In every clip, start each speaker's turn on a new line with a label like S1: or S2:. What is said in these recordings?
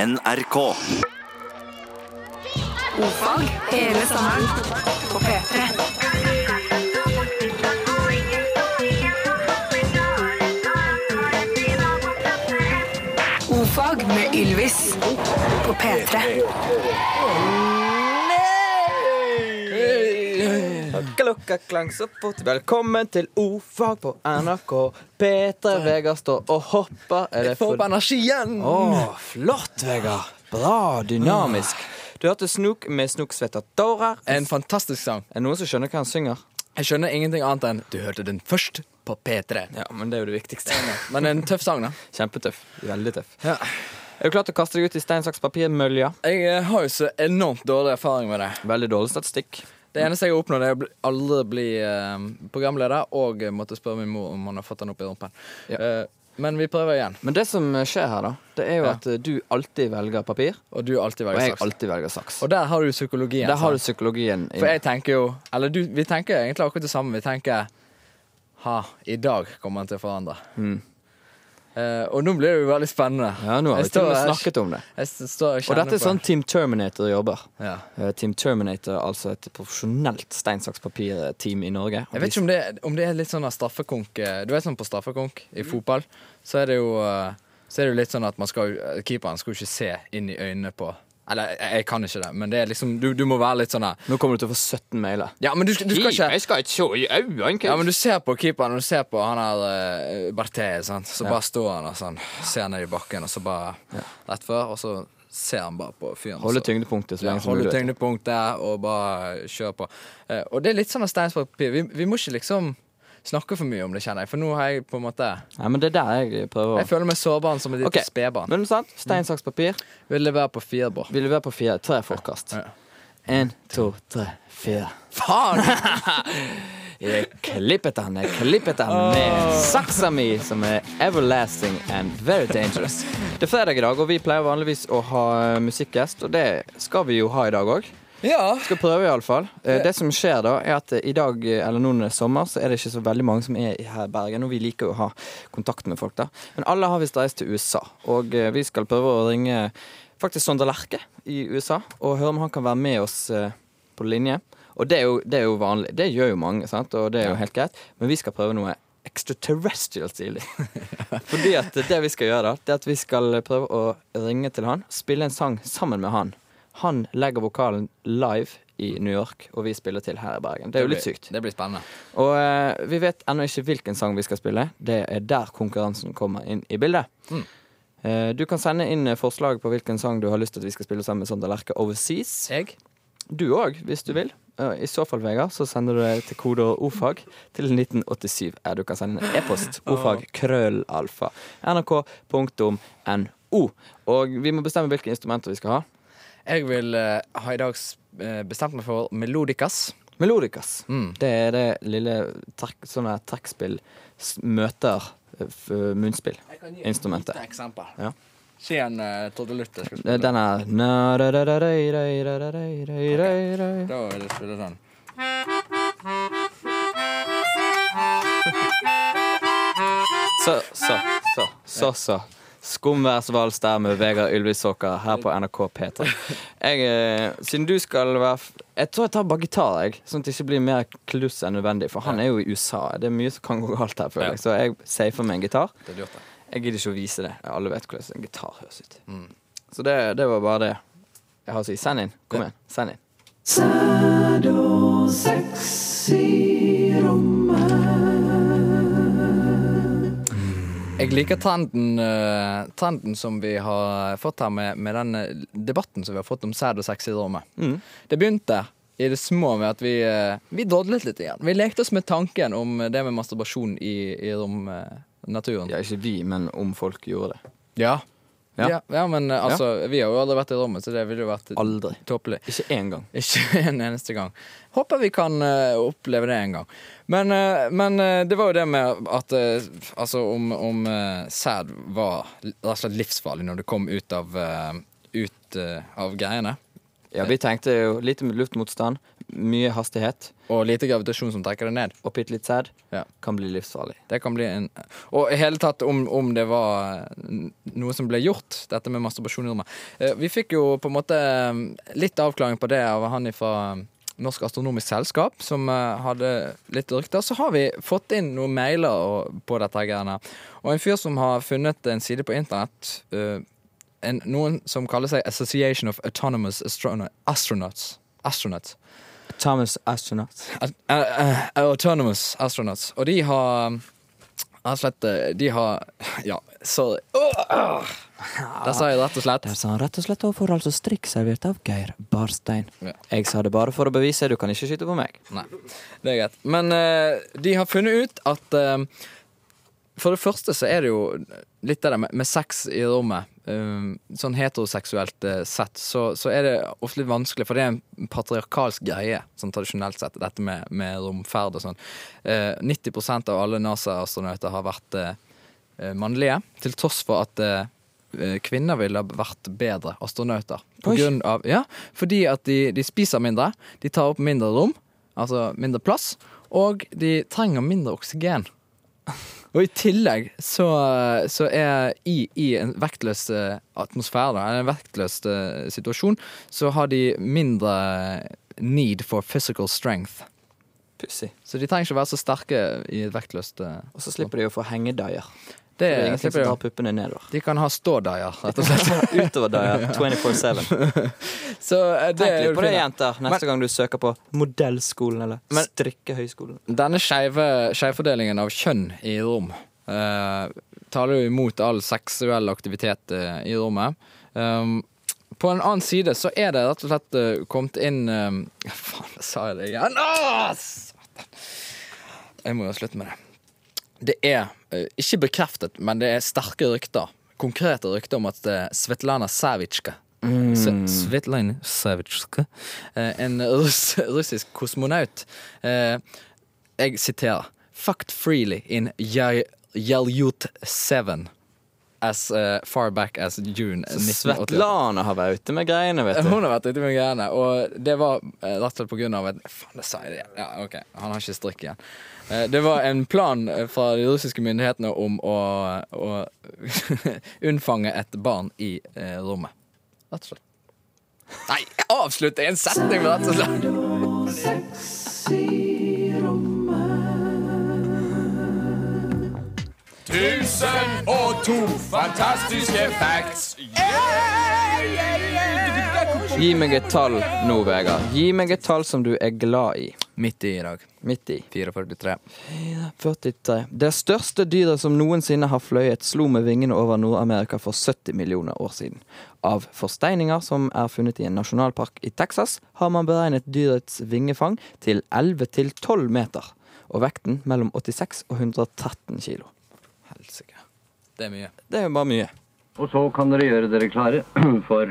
S1: NRK.
S2: Ofag hele sommeren på P3. Ofag med Ylvis på P3.
S3: Klokka klang så fort. Velkommen til O-fag på NRK. Peter Vegard står og hopper. Er det
S4: Få
S3: full-
S4: opp energien!
S3: Å, flott, Vegard. Bra. Dynamisk. Du hørte Snook med Snook-svetta tårer. Er
S4: En fantastisk sang.
S3: det noen som skjønner hva han synger?
S4: Jeg skjønner ingenting annet enn du hørte den først på P3.
S3: Ja, men det er jo det viktigste.
S4: Men en tøff sang, da.
S3: Kjempetøff. Veldig tøff.
S4: Ja.
S3: Er du klar til å kaste deg ut i stein, saks, papir-mølja?
S4: Jeg eh, har jo så enormt dårlig erfaring med det.
S3: Veldig dårlig statistikk.
S4: Det eneste jeg har oppnådd, er å bli- aldri bli eh, programleder og eh, måtte spørre min mor om han har fått den opp i rumpen.
S3: Ja.
S4: Eh, men vi prøver igjen.
S3: Men det som skjer her, da, det er jo
S4: Ja.
S3: at eh, du alltid velger papir,
S4: Og du alltid
S3: og
S4: velger
S3: jeg
S4: saks.
S3: alltid velger saks.
S4: Og der har du psykologien.
S3: Der har du
S4: sant?
S3: psykologien. inn.
S4: For jeg tenker jo Eller du, vi tenker egentlig akkurat det samme. Vi tenker Ha, i dag kommer han til å forandre. Eh, og nå blir det jo veldig spennende.
S3: Mm. Ja, nå har
S4: Jeg
S3: vi til og
S4: står
S3: med
S4: her-
S3: snakket om det.
S4: Jeg s- står og
S3: Og
S4: kjenner
S3: dette er
S4: på
S3: sånn Team Terminator jobber.
S4: det. Ja.
S3: Eh, Team Terminator, altså et profesjonelt stein, saks, papir-team i Norge.
S4: Jeg vet ikke om det, om det er litt sånn av straffekonk eh, Du vet sånn på straffekonk i
S3: Mm.
S4: fotball, så er det jo eh, så er det jo litt sånn at man skal, eh, keeperen skal jo ikke se inn i øynene på Eller jeg, jeg kan ikke det, men det er liksom du, du må være litt sånn der
S3: Nå kommer du til å få 17 mailer.
S4: Ja, men du, du skal ikke
S3: skal ikke se i øynene!
S4: ja, men Du ser på keeperen, og du ser på han her uh, Barté, sant? så bare står han og sånn, ser ned i bakken, og så bare rett før, og så ser han bare på fyren.
S3: Holde
S4: så-
S3: tyngdepunktet så
S4: Ja,
S3: lenge som
S4: holde
S3: mulig.
S4: tyngdepunkt der og bare kjøre på. Eh, og det er litt sånn av stein, saks, papir. Vi, vi må ikke liksom snakke for mye om det, kjenner jeg. For nå har jeg på en måte
S3: Ja, men det er der jeg prøver
S4: Jeg
S3: å
S4: føler meg sårbarn som et lite
S3: Ok,
S4: spedbarn.
S3: Men sant? Stein, saks, papir.
S4: Vil det være på firebår?
S3: Vil du være på fire? Tre forkast.
S4: Ja.
S3: Én, to, tre, fire.
S4: Faen!
S3: Jeg klippet han, jeg klippet han med saksa mi, som er everlasting and very dangerous. Det er fredag i dag, og vi pleier vanligvis å ha eh, musikkgjest, og det skal vi jo ha i dag òg.
S4: Ja.
S3: Skal prøve, iallfall. Eh, Det som skjer da, er at eh, i dag, eh, eller nå når det er sommer, så er det ikke så veldig mange som er i- her i Bergen, og vi liker jo å ha kontakt med folk da. Men alle har visst reist til USA, og eh, vi skal prøve å ringe faktisk Sondre Lerche i USA, og høre om han kan være med oss eh, på linje. Og det er jo, det er jo vanlig. Det gjør jo mange, sant? og det er jo helt greit, men vi skal prøve noe extraterrestrial-stilig. Fordi at det vi skal gjøre da, det er at vi skal prøve å ringe til han, spille en sang sammen med han. Han legger vokalen live i New York, og vi spiller til her i Bergen. Det er jo litt sykt.
S4: Det blir spennende.
S3: Og eh, vi vet ennå ikke hvilken sang vi skal spille. Det er der konkurransen kommer inn i bildet. Eh, Du kan sende inn eh, forslag på hvilken sang du har lyst til at vi skal spille sammen med Sondre Lerche Overseas.
S4: Jeg?
S3: Du òg, hvis du vil. Eh, I så fall, Vegard, så sender du det til kodeord ofag til 1987. Ja, du kan sende en e-post. Ofag krøllalfa nrk.no. Og vi må bestemme hvilke instrumenter vi skal ha.
S4: Jeg vil eh, ha i dag s- eh, bestemt meg for melodicas.
S3: Melodicas.
S4: Mm.
S3: Det er det lille trekk, sånne trekkspill s- møter eh, f- munnspill. Instrumentet.
S4: eksempel.
S3: Ja.
S4: Si en uh, tordelutt. jeg skal
S3: Det
S4: spille.
S3: er Den er na-da-da-da-da-da-da-da-da-da-da-da.
S4: Da vil jeg spille den.
S3: Så, så, så, så, så. Skumværsvals der med Vegard Ylvisåker her på NRK P3. Jeg, eh, siden du skal være f- Jeg tror jeg tar bare gitar, jeg. Sånn at det ikke blir mer kluss enn nødvendig. For han er jo i USA. Det er mye som kan gå galt her, føler jeg. Så jeg safer meg en gitar.
S4: Det er lurt, det.
S3: Jeg gidder ikke å vise det. Alle vet hvordan en gitar høres ut. Så det, det var bare det jeg har å si. Send inn. Kom igjen. Send inn.
S4: Jeg liker trenden, eh, trenden som vi har fått her med, med den eh, debatten som vi har fått om sæd og sex i rommet. Det begynte i det små med at vi, eh, vi drodlet litt igjen. Vi lekte oss med tanken om det med masturbasjon i, i rom, eh, naturen.
S3: Ja, ikke vi, men om folk gjorde det.
S4: Ja.
S3: Ja.
S4: Ja. ja. men eh, altså, vi har jo aldri vært i rommet, så det ville jo vært
S3: Aldri.
S4: tåpelig.
S3: Ikke én gang.
S4: Ikke en eneste gang. Håper vi kan eh, oppleve det en gang. Men, eh, men eh, det var jo det med at eh, Altså om, om eh, sæd var l- rett og slett livsfarlig når det kom ut av, eh, ut, eh, av greiene.
S3: Ja, vi tenkte jo lite luftmotstand, mye hastighet
S4: Og lite gravitasjon som trekker det ned.
S3: og bitte litt sæd
S4: Ja.
S3: kan bli livsfarlig.
S4: Det kan bli en Og i hele tatt om, om det var n- noe som ble gjort, dette med masturbasjon i rommet. Eh, Vi fikk jo på en måte eh, litt avklaring på det av han fra Norsk Astronomisk Selskap, som eh, hadde litt rykter. Så har vi fått inn noen mailer og- på dette her greiene. Og en fyr som har funnet en side på internett, eh, en, noen som kaller seg Association of Autonomous Astrono Astronauts. Astronauts.
S3: Thomas Astronaut.
S4: At- eh, eh, Autonomous Astronauts. Og de har eh, Rett og slett eh, De har Ja, sorry. Åh! Der sa jeg rett og slett.
S3: Der sa han rett og slett overfor altså strikk servert av Geir Barstein.
S4: Ja.
S3: Jeg sa det bare for å bevise, du kan ikke skyte på meg.
S4: Nei, det er greit. Men eh, de har funnet ut at eh, For det første så er det jo litt av det med, med sex i rommet. eh, sånn heteroseksuelt eh, sett så, så er det ofte litt vanskelig, for det er en patriarkalsk greie, sånn tradisjonelt sett, dette med, med romferd og sånn. Eh, 90 av alle NASA-astronauter har vært eh, eh, mannlige, til tross for at eh, eh, kvinner ville ha vært bedre astronauter. På
S3: Oi.
S4: grunn av, ja, fordi at de, de spiser mindre, de tar opp mindre rom, altså mindre plass, og de trenger mindre oksygen. Og i tillegg så, så er i, i en vektløs eh, atmosfære, da, eller en vektløs eh, situasjon, så har de mindre need for physical strength.
S3: Pussig.
S4: Så de trenger ikke være så sterke i et vektløst eh,
S3: Og så slipper de å få hengedaier.
S4: Det
S3: Det er egentlig
S4: slipper
S3: som
S4: de.
S3: tar puppene nedover.
S4: De kan ha stådaier, rett og slett.
S3: Utover daier 24-7.
S4: Så eh, det
S3: Tenk
S4: er jo
S3: litt på det,
S4: fint.
S3: jenter, neste gang du søker på modellskolen eller
S4: Men-
S3: strikkehøyskolen.
S4: Denne skeive- skjevfordelingen av kjønn i rom eh, taler jo imot all seksuell aktivitet eh, i rommet. Um, på en annen side så er det rett og slett eh, kommet inn um, Faen, da sa jeg det igjen! Åh, satan. Jeg må jo slutte med det. Det er eh, ikke bekreftet, men det er sterke rykter. Konkrete rykter om at eh, Svetlana Savitsjka Se- Svetlana Savitsjka eh, En russ, russisk kosmonaut eh, Jeg siterer Fucked freely in Yalyut 7 As eh, far back as June 1988
S3: Svetlana har vært ute med greiene, vet du.
S4: hun har vært ute med greiene, og det var eh, rett og slett på grunn av et Faen, det sa jeg det igjen. Ja, ok, han har ikke strikk igjen. Eh, Det var en plan eh, fra de russiske myndighetene om å, å unnfange et barn i eh, rommet. Rett og slett. Nei, avslutt en setning med rett og slett!
S1: Tusen og to fantastiske facts.
S3: Gi meg et tall nå, Vegard. Gi meg et tall som du er glad i.
S4: Midt i i dag.
S3: Midt i.
S4: 4.43.
S3: 43. Det største dyret som noensinne har fløyet, slo med vingene over Nord-Amerika for 70 millioner år siden. Av forsteininger som er funnet i en nasjonalpark i Texas, har man beregnet dyrets vingefang til 11 til 12 meter, og vekten mellom 86 og 113 kilo.
S4: Helsike. Det er mye.
S3: Det er jo bare mye.
S5: Og så kan dere gjøre dere klare for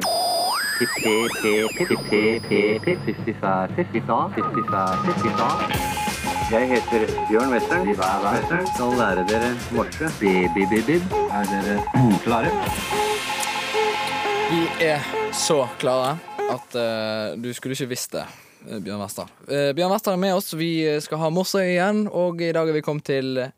S5: Jeg heter Bjørn Western. Skal lære dere morse. Bi-bi-bi-bib. Er dere klare?
S4: Vi er så klare at eh, du skulle ikke visst det, eh, Bjørn Westad. Eh, Bjørn Westad er med oss, vi eh, skal ha morse igjen, og i dag er vi kommet til eh,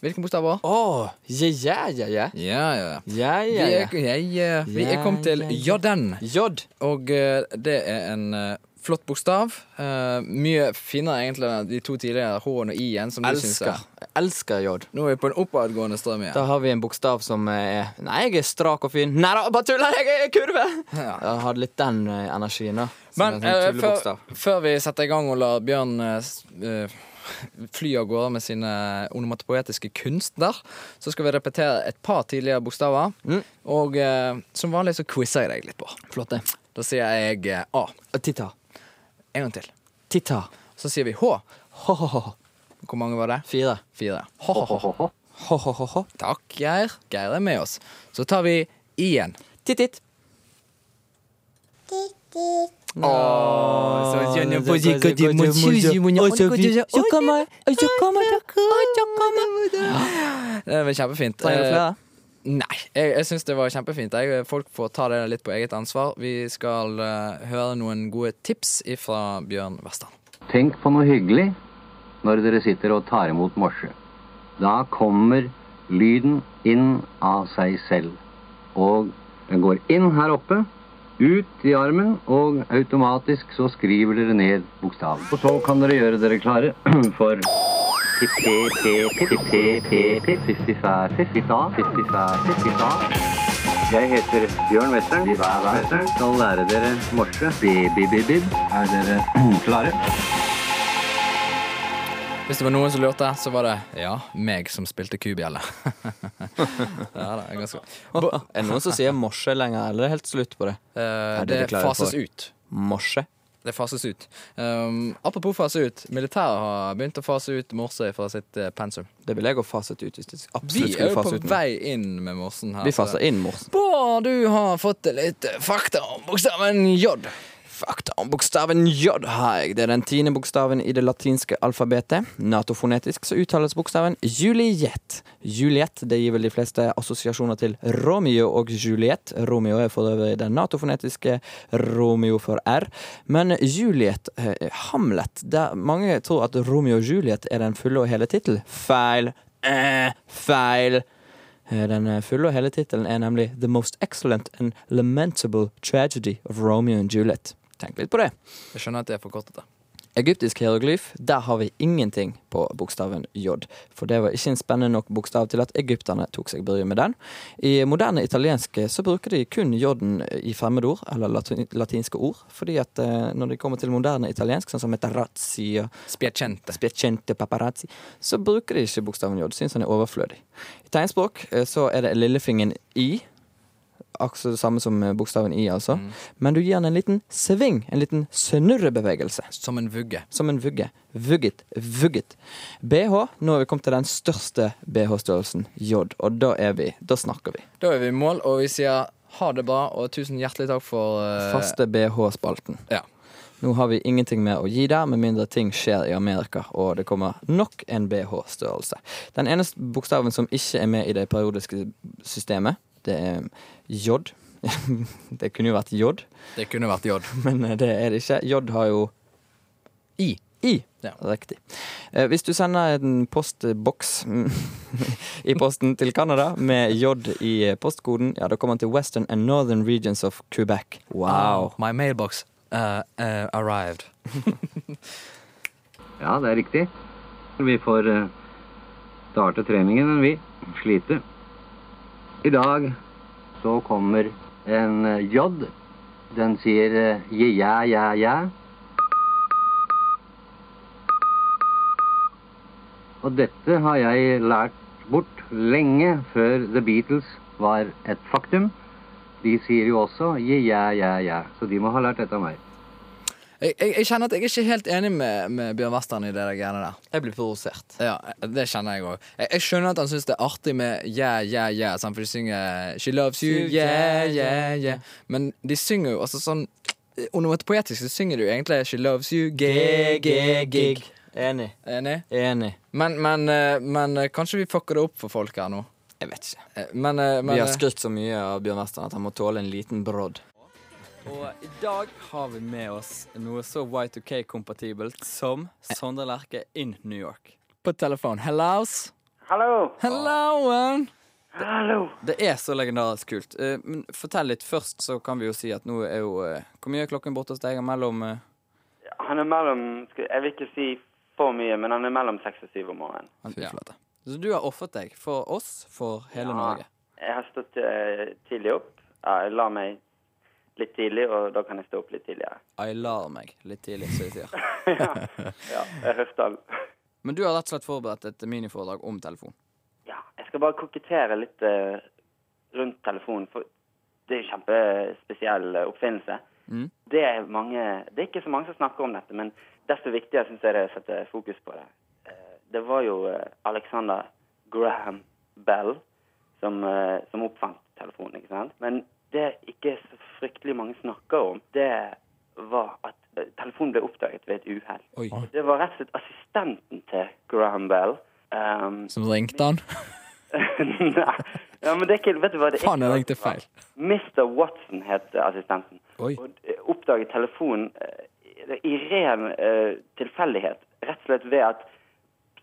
S4: Hvilken bokstav var det?
S3: Å, ja, ja, ja, ja.
S4: Ja, ja, ja.
S3: Ja,
S4: Vi
S3: ja,
S4: er,
S3: ja.
S4: jeg, eh, vi er kommet til
S3: Ja, ja, ja.
S4: J-den,
S3: Jod.
S4: og eh, det er en eh, flott bokstav. Eh, mye finere egentlig enn de to tidligere H-en og I-en, som du syns
S3: Elsker.
S4: er
S3: Elsker jod.
S4: Nå er vi på en oppadgående strøm igjen.
S3: Da har vi en bokstav som er Nei, jeg er strak og fin. Nei da, bare tuller! Jeg er kurve! Ja. Jeg hadde litt den eh, energien, da. Som
S4: Men
S3: en
S4: eh,
S3: sånn
S4: før,
S3: tullebokstav.
S4: før vi setter i gang og lar Bjørn eh, s- eh, fly av gårde med sine onomatopoetiske kunster, så skal vi repetere et par tidligere bokstaver. Og eh, som vanlig så quizer jeg deg litt på.
S3: Flott, det.
S4: Da sier jeg eh, A.
S3: Og Titta.
S4: En gang til.
S3: Titta.
S4: Så sier vi H.
S3: Ho-ho-ho.
S4: Hvor mange var det?
S3: Fire.
S4: Fire. H -h -h.
S3: Ho-ho-ho.
S4: Takk, Geir. Geir er med oss. Så tar vi I-en.
S3: Titt-titt.
S4: Det er vel kjempefint.
S3: Trenger
S4: Eh,
S3: du flere?
S4: Nei, jeg, jeg syns det var kjempefint. Jeg, eh, folk får ta det litt på eget ansvar. Vi skal eh, høre noen gode tips fra Bjørn Western.
S5: Tenk på noe hyggelig når dere sitter og tar imot morse. Da kommer lyden inn av seg selv. Og den går inn her oppe, ut i armen, og automatisk så skriver dere ned bokstaven. Og så kan dere gjøre dere klare for jeg heter Bjørn Western. Skal lære dere morse. Bi-bi-bi-bib. Er dere klare?
S4: Hvis det var noen som lurte, så var det ja, meg som spilte kubjelle. ja, da, ganske
S3: Er det noen som sier morse lenger, eller er det helt slutt på det?
S4: Eh,
S3: Er
S4: Det
S3: dere klare
S4: fases
S3: for-
S4: ut.
S3: Morse.
S4: Det fases ut. Um, apropos fase ut. Militæret har begynt å fase ut morse fra sitt eh, pensum.
S3: Det ville jeg ha faset ut hvis det
S4: Vi
S3: absolutt
S4: er
S3: skulle
S4: jo på
S3: fase ut. noe.
S4: vei inn med morsen her.
S3: Vi
S4: så-
S3: faser inn morsen.
S4: Bård, du har fått litt eh, fakta om bokstaven J.
S3: Fakta om bokstaven J har jeg. Det er den tiende bokstaven i det latinske alfabetet. Natofonetisk så uttales bokstaven Juliet. Juliet det gir vel de fleste assosiasjoner til Romeo og Juliet. Romeo er for øvrig den natofonetiske Romeo for R. Men Juliet, eh, Hamlet der Mange tror at Romeo og Juliet er den fulle og hele tittel. Feil. Eh, feil. Eh, Den eh, fulle og hele tittelen er nemlig The Most Excellent and Lamentable Tragedy of Romeo and Juliet. Tenk litt på det.
S4: Jeg skjønner at det er forkortet. da.
S3: Egyptisk hieroglyf, der har vi ingenting på bokstaven J. For det var ikke en spennende nok bokstav til at egypterne tok seg bryet med den. I moderne italiensk eh, så bruker de kun J-en eh, i fremmedord, eller latin latinske ord. Fordi at eh, når det kommer til moderne italiensk, sånn som metarazzi og
S4: Spiacente.
S3: Spiacente paparazzi, så bruker de ikke bokstaven J. Syns han er overflødig. I tegnspråk eh, så er det lillefingeren I. Akkurat det samme som eh, bokstaven I, altså. Men du gir den en liten sving, en liten snurrebevegelse.
S4: Som en vugge.
S3: Som en vugge. Vugget, vugget. BH, nå er vi kommet til den største BH-størrelsen, J. Og da er vi, da snakker vi.
S4: Da er vi i mål, og vi sier ha det bra, og tusen hjertelig takk for eh,
S3: Faste BH-spalten.
S4: Ja.
S3: Nå har vi ingenting mer å gi der, med mindre ting skjer i Amerika og det kommer nok en BH-størrelse. Den eneste bokstaven som ikke er med i det periodiske systemet, det er J. det kunne jo vært J,
S4: Det kunne vært J.
S3: men eh, det er det ikke. J har jo I. I.
S4: Ja.
S3: Riktig. Eh, Hvis du sender en postboks mm, i posten til Canada med J i eh, postkoden, ja, da kommer den til Western and Northern Regions of Quebec. Wow.
S4: My mailbox eh, eh, arrived.
S5: Ja, det er riktig. Vi får eh, starte treningen, men vi sliter. I dag så kommer en eh, J. Den sier eh, je, ja, ja, ja. Og dette har jeg lært bort lenge før The Beatles var et faktum. De sier jo også je, ja, ja, ja. Så de må ha lært dette av meg.
S4: Jeg, jeg, jeg kjenner at jeg er ikke helt enig med, med Bjørn Western i det der greiene der.
S3: Jeg blir provosert.
S4: Ja, Det kjenner jeg òg. Jeg, jeg skjønner at han syns det er artig med yeah, yeah, yeah, sant? for de synger She loves you, yeah, yeah, yeah. Men de synger jo altså sånn Onomatopoetisk så synger de jo egentlig She loves you, gig, gig, gig.
S3: Enig.
S4: Enig?
S3: Enig.
S4: Men, men, eh, men eh, kanskje vi fucker det opp for folk her nå.
S3: Jeg vet ikke.
S4: Eh, Men, eh, men
S3: Vi har
S4: eh,
S3: skrytt så mye av Bjørn Western at han må tåle en liten brodd. Og i dag har vi med oss noe så Y2K-kompatibelt som Sondre Lerche in New York.
S4: på telefon. Hellos?
S6: Hallo.
S4: Helloen!
S6: Hallo.
S3: Det er så legendarisk kult. Eh, Men fortell litt først, så kan vi jo si at nå er jo eh, Hvor mye er klokken borte hos deg? og Mellom eh,
S6: Han er mellom skal- Jeg vil ikke si for mye, men han er mellom seks og syv om morgenen.
S3: Fy flate. Så du har ofret deg for oss, for hele Norge.
S6: Jeg har stått eh, tidlig opp. Ja, jeg la meg litt tidlig, og da kan jeg stå opp litt tidligere.
S3: I lar meg litt tidlig, som de sier.
S6: Ja, jeg høfter all.
S3: Men du har rett og slett forberedt et miniforedrag om telefon.
S6: Ja, jeg skal bare kokettere litt eh, rundt telefonen, for det er en kjempespesiell eh, oppfinnelse. Det, er mange, det er ikke så mange som snakker om dette, men desto viktigere syns jeg det er å sette fokus på det. Eh, Det var jo eh, Alexander Graham Bell som, eh, som oppfant telefonen, ikke sant? Men det ikke så fryktelig mange snakker om, det var at eh, telefonen ble oppdaget ved et uhell.
S3: Oi.
S6: Det var rett og slett assistenten til Graham Bell. Um,
S4: Som ringte han.
S6: Nei, Ja, men det er ikke, vet du hva det er?
S4: Faen, jeg ringte feil.
S6: Mr. Watson het assistenten.
S3: Oi.
S6: Og eh, oppdaget telefonen eh, i ren eh, tilfeldighet. Rett og slett ved at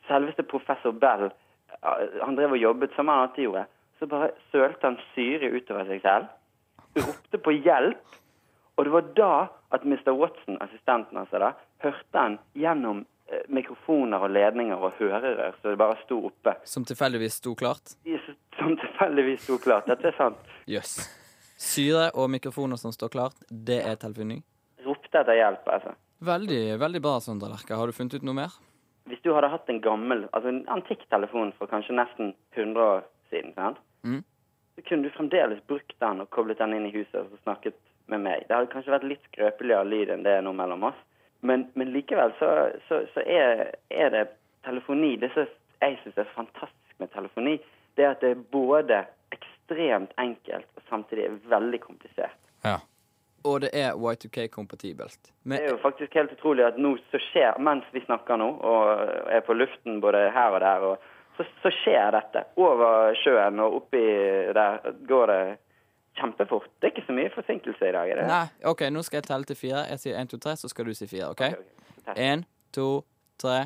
S6: selveste professor Bell eh, Han drev og jobbet som han alltid gjorde. Så bare sølte han syre utover seg selv. Ropte på hjelp. Og det var da at Mr. Watson, assistenten hans, da, hørte han gjennom eh, mikrofoner og ledninger og hørerør, så det bare sto oppe.
S3: Som tilfeldigvis sto klart.
S6: De som tilfeldigvis sto klart. Dette er sant.
S3: Jøss. Syre og mikrofoner som står klart, det er telefonning.
S6: ropte etter hjelp. altså.
S3: Veldig veldig bra, Sondre Lerche. Har du funnet ut noe mer?
S6: Hvis du hadde hatt en gammel, altså en antikk telefon for kanskje nesten 100 år siden, sant?
S3: Mm.
S6: så kunne du fremdeles brukt den og koblet den inn i huset og så snakket med meg. Det hadde kanskje vært litt skrøpeligere lyd enn det er nå mellom oss, men, men likevel så, så, så er, er det telefoni. Det som jeg syns er fantastisk med telefoni, det er at det er både ekstremt enkelt og samtidig veldig komplisert.
S4: Ja.
S3: Og det er Y2K-kompatibelt.
S6: Det er
S3: Med
S6: jo faktisk helt utrolig at nå så skjer, mens vi snakker nå, og eh, er på luften både her og der, og så, så skjer dette. Over sjøen og oppi der går det kjempefort. Det er ikke så mye forsinkelse i dag, er det?
S3: Nei, OK, nå skal jeg telle til fire. Jeg sier én, to, tre, så skal du si fire.
S6: Ok,
S3: OK?
S6: ok. Så test.
S3: Én, to, tre.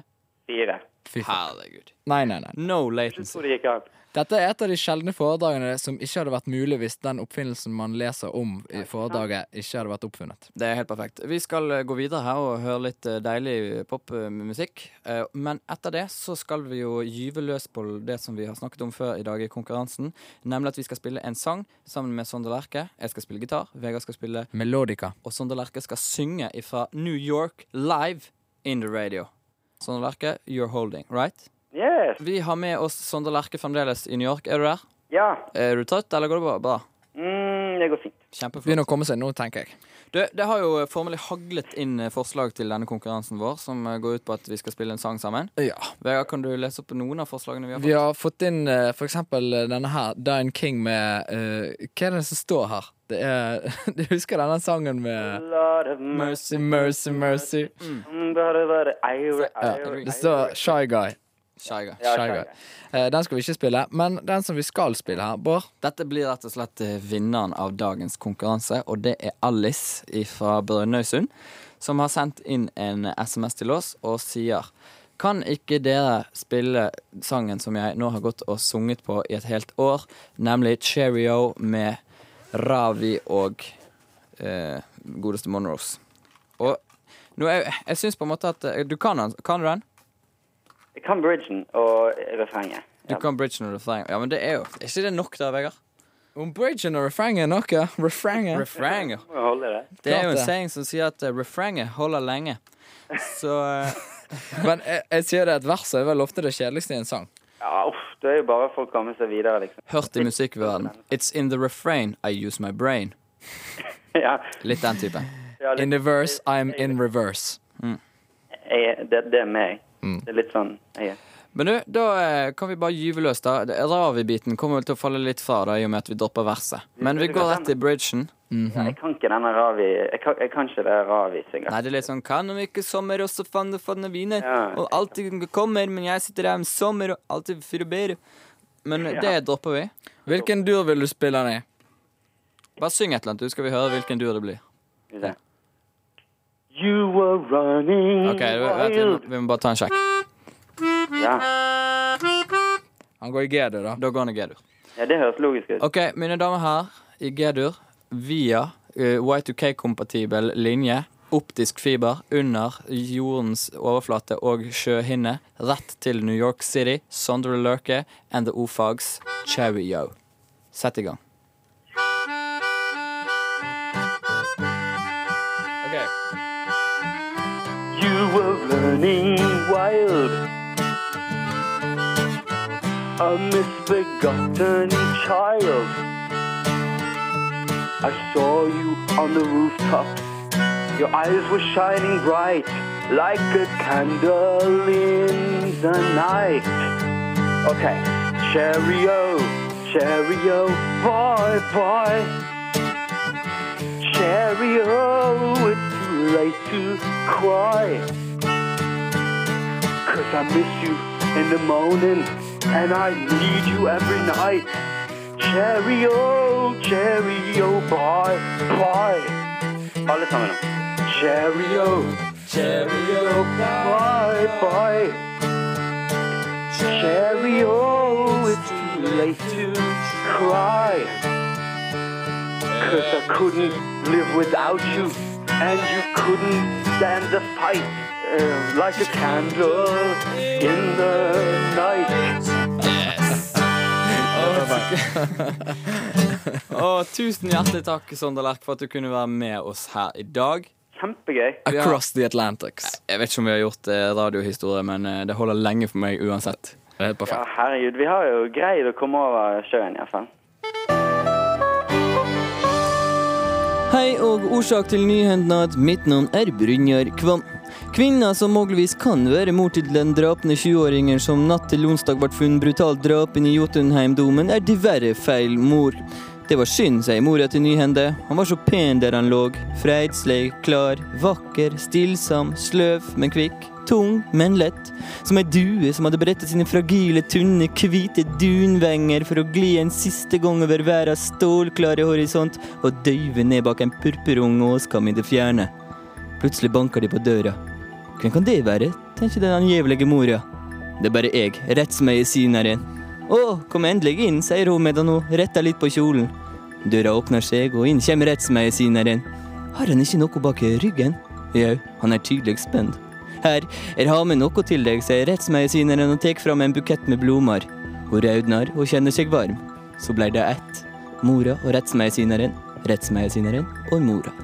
S6: Fire.
S4: Fy faen.
S3: Herregud.
S4: Nei, nei, nei.
S3: No
S6: Jeg
S3: latency.
S6: tror det gikk an.
S4: Dette er et av de sjeldne foredragene som ikke hadde vært mulig hvis den oppfinnelsen man leser om i foredraget, ikke hadde vært oppfunnet.
S3: Det er helt perfekt. Vi skal eh, gå videre her og høre litt eh, deilig popmusikk. Eh, Men etter det så skal vi jo gyve løs på det som vi har snakket om før i dag i konkurransen. Nemlig at vi skal spille en sang sammen med Sondre Lerche. Jeg skal spille gitar, Vegard skal spille,
S4: Melodica.
S3: og Sondre Lerche skal synge ifra New York live in the radio. Sondre Lerche, you're holding, right?
S6: Yes.
S3: Vi har med oss Sondre Lerche fremdeles i New York. Er du der?
S6: Ja.
S3: Er du trøtt, eller går det bra? bra?
S6: Mm, det går fint.
S3: Kjempeflott.
S4: Begynner å komme seg nå, tenker jeg.
S3: Det, det har jo formelig haglet inn eh, forslag til denne konkurransen vår, som eh, går ut på at vi skal spille en sang sammen.
S4: Ja.
S3: Vegard, kan du lese opp noen av forslagene vi har
S4: Vi
S3: fått?
S4: har fått inn eh, for eksempel eh, denne her, Dine King med eh, Hva er det som står her? Det er, du husker denne sangen med
S6: Lord of mercy.
S4: Mercy, mercy, mercy.
S6: Bare, bare, eire,
S4: Ja,
S6: eire,
S4: det står Shy Guy.
S3: Skjeiga.
S6: Ja,
S4: Shy
S6: Shy
S4: Guy. Eh, den skal vi ikke spille, men den som vi skal spille her, Bård
S3: Dette blir rett og slett eh, vinneren av dagens konkurranse, og det er Alice fra Brønnøysund, som har sendt inn en SMS til oss og sier kan ikke dere spille sangen som jeg nå har gått og sunget på i et helt år, nemlig Cheerio med Ravi og eh, godeste Monrose. Og nå, jeg, jeg syns på en måte at eh, Du kan den? Kan du den?
S6: Jeg kan bridgen og refrenget.
S3: Du kan bridge når du trenger Ja, men det er jo Er ikke det nok der, Vegard?
S4: Om bridgen og refrenget er noe. Refrenget.
S3: Refranger.
S6: Må jeg holde det?
S3: Det er
S4: Klart
S3: jo en
S4: det.
S3: saying som sier at eh, refrenget holder lenge. Så eh,
S4: Men jeg, jeg sier det at verset er vel ofte det kjedeligste i en sang.
S6: Ja, uff, det er jo bare for å komme seg videre, liksom.
S3: hørt i musikkverdenen It's in the refrain I use my brain.
S6: Ja,
S3: Litt den typen.
S6: ja, litt-
S4: In the verse, I'm in reverse.
S6: jeg, det, det er meg.
S4: Mm.
S6: Det er litt sånn jeg er.
S3: Men du, da eh, kan vi bare gyve løs, da. Det- Ravi-biten kommer vel til å falle litt fra, da, i og med at vi dropper verset. Men vi går rett i bridgen. Mhm.
S6: Jeg kan ikke denne Ravi Jeg kan, jeg kan ikke det Ravi synger.
S3: Nei, det er litt sånn Kan om ikke sommer, og så fanne fanne viner.
S6: Ja.
S3: Og alltid kommer, men jeg sitter her med sommer, og alltid fyrer Men eh, det dropper vi.
S4: Hvilken dur vil du spille den i?
S3: Bare syng et eller annet, du, skal vi høre hvilken dur det blir.
S6: Skal vi se. You were running
S3: OK, du, vet, vi, må, vi må bare ta en sjekk.
S6: Ja.
S4: Han går i G-dur, da.
S3: Da går han i G-dur.
S6: ja, det høres logisk ut.
S3: Ok, mine damer her i G-dur via eh, Y2K-kompatibel linje, optisk fiber under jordens overflate og sjøhinne, rett til New York City, Sondre Lerche and the O-Fags Cherry-Yo. Sett i gang.
S6: You were running wild A misbegotten child I saw you on the rooftops Your eyes were shining bright Like a candle in the night Okay, Cheerio, Cheerio, boy, boy Cheerio, it's too late to cry. Cause I miss you in the morning and I need you every night. Cheerio, cheerio, boy, boy. Alle sammen nå. Cheerio, cheerio, boy, boy. Cheerio, it's too late to cry. Cause I couldn't live without you, and you couldn't stand the fight. uh, like a candle in the night.
S3: Og tusen hjertelig takk, Sondre Lerch, for at du kunne være med oss her i dag.
S6: Kjempegøy.
S4: Across the Atlantics.
S3: Jeg vet ikke om vi har gjort eh, radiohistorie, men eh, det holder lenge for meg uansett.
S4: Det er helt perfekt.
S6: Ja, herregud, vi har jo greid å komme over sjøen i hvert fall.
S3: Hei og årsak til nyhendnad. Mitt navn er Brynjar Kvam. Kvinna som muligvis kan være mor til den drapne 20-åringen som natt til onsdag ble funnet brutalt drapen i Jotunheimdomen, er diverre feil mor. Det var synd, sier mora til Nyhende. Han var så pen der han lå. Freidsleg, klar, vakker, stillsam, sløv, men kvikk. Tung, men lett. Som ei due som hadde brettet sine fragile, tynne, hvite dunvenger for å gli en siste gang over verdens stålklare horisont og døyve ned bak en purpurung åskam i det fjerne. Plutselig banker de på døra. Hvem kan det være, tenker den angjevelige mora. Det er bare jeg, rettsmedisineren. Å, kom endelig inn, sier hun medan hun retter litt på kjolen. Døra åpner seg, og inn kommer rettsmedisineren. Har han ikke noe bak i ryggen? Jau, han er tydelig spent. Her, jeg har med noe til deg, sier rettsmedisineren og tar fram en bukett med blomster. Hun rødner og kjenner seg varm. Så ble det ett. Mora og rettsmedisineren, rettsmedisineren og mora.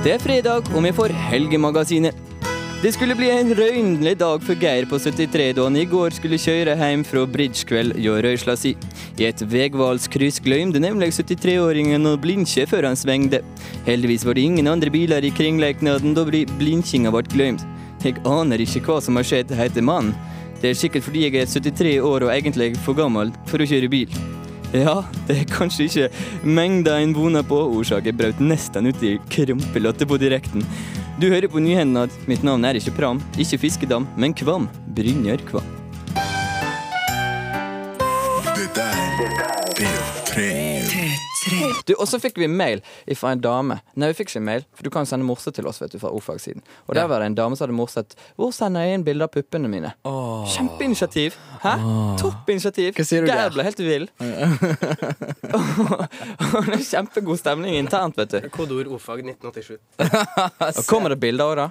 S3: Det er fredag, og vi får Helgemagasinet. Det skulle bli en røynlig dag for Geir på 73 da han i går skulle kjøre hjem fra bridgekveld hjå røysla si. I et vegvalskryss gløymde nemlig 73-åringen å blinke før han svingde. Heldigvis var det ingen andre biler i kringleiknaden da bli- blinkinga ble gløymd. Jeg aner ikke hva som har skjedd, heter mannen. Det er sikkert fordi jeg er 73 år og egentlig for gammel for å kjøre bil. Ja, det er kanskje ikke mengda en voner på. Ordsaken brøt nesten ut i krampelatter på direkten. Du hører på Nyhendad. Mitt navn er ikke Pram, ikke Fiskedam, men Kvam. Brynjar Kvam. Du, og så fikk vi mail fra en dame. Nei, vi fikk ikke mail, for du kan sende morse til oss vet du, fra ordfagssiden. Og der var det en dame som hadde morset. Hvor sender jeg inn bilder av puppene mine? Kjempeinitiativ. Hæ? Topp initiativ.
S4: Hva sier du der?
S3: Geir ble helt vill. Og det er kjempegod stemning internt, vet du.
S7: Kodeord ordfag 1987.
S3: Og kommer det bilder òg, da?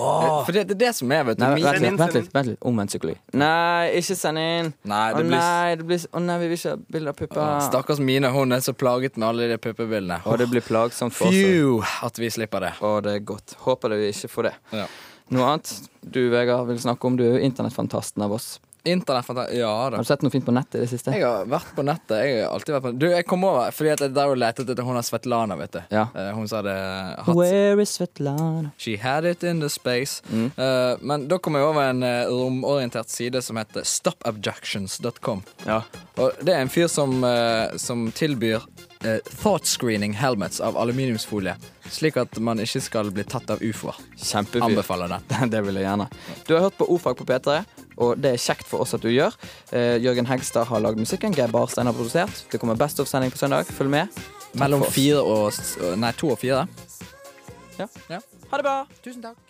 S4: For det, det er det som er, vet du.
S3: Nei,
S4: min-
S3: vent
S7: Send
S3: litt,
S7: inn,
S3: vent
S7: send
S3: litt, vent litt. omvendt psykologi. Nei, ikke send inn.
S4: Nei, det
S3: Å
S4: blir-
S3: nei, det blir s- Å nei, vi vil ikke ha bilder av pupper.
S4: Stakkars Mine, hun er så plaget med alle de puppebildene.
S3: Og det blir plagsomt for oss.
S4: Phew, at vi slipper det.
S3: Og det er godt. Håper vi ikke får det.
S4: Ja.
S3: Noe annet du Vegard, vil snakke om, du er jo internettfantasten av oss.
S4: Internettfantasi Ja da.
S3: Har du sett noe fint på nettet i det siste?
S4: Jeg har vært på nettet. Jeg har alltid vært på Du, jeg kom over fordi at jeg der og lette etter hun har Svetlana, vet du.
S3: Ja.
S4: Eh, Hun som hadde hatt
S3: Where is Svetlana?
S4: She had it in the space.
S3: Mm.
S4: Eh, men da kom jeg over en eh, romorientert side som heter stopabjections.com.
S3: Ja.
S4: Og det er en fyr som, eh, som tilbyr eh, thought screening helmets av aluminiumsfolie, slik at man ikke skal bli tatt av ufoer.
S3: Kjempefyr.
S4: Anbefaler den.
S3: Det det vil jeg gjerne. Du har hørt på O-fag på P3, og det er kjekt for oss at du gjør. Eh, Jørgen Hegstad har lagd musikken, Geir Barstein har produsert. Det kommer Best of-sending på søndag. Følg med.
S4: Mellom
S3: for oss.
S4: fire og s- Nei, to og fire.
S3: Ja.
S4: Ja.
S3: Ha det bra!
S4: Tusen takk.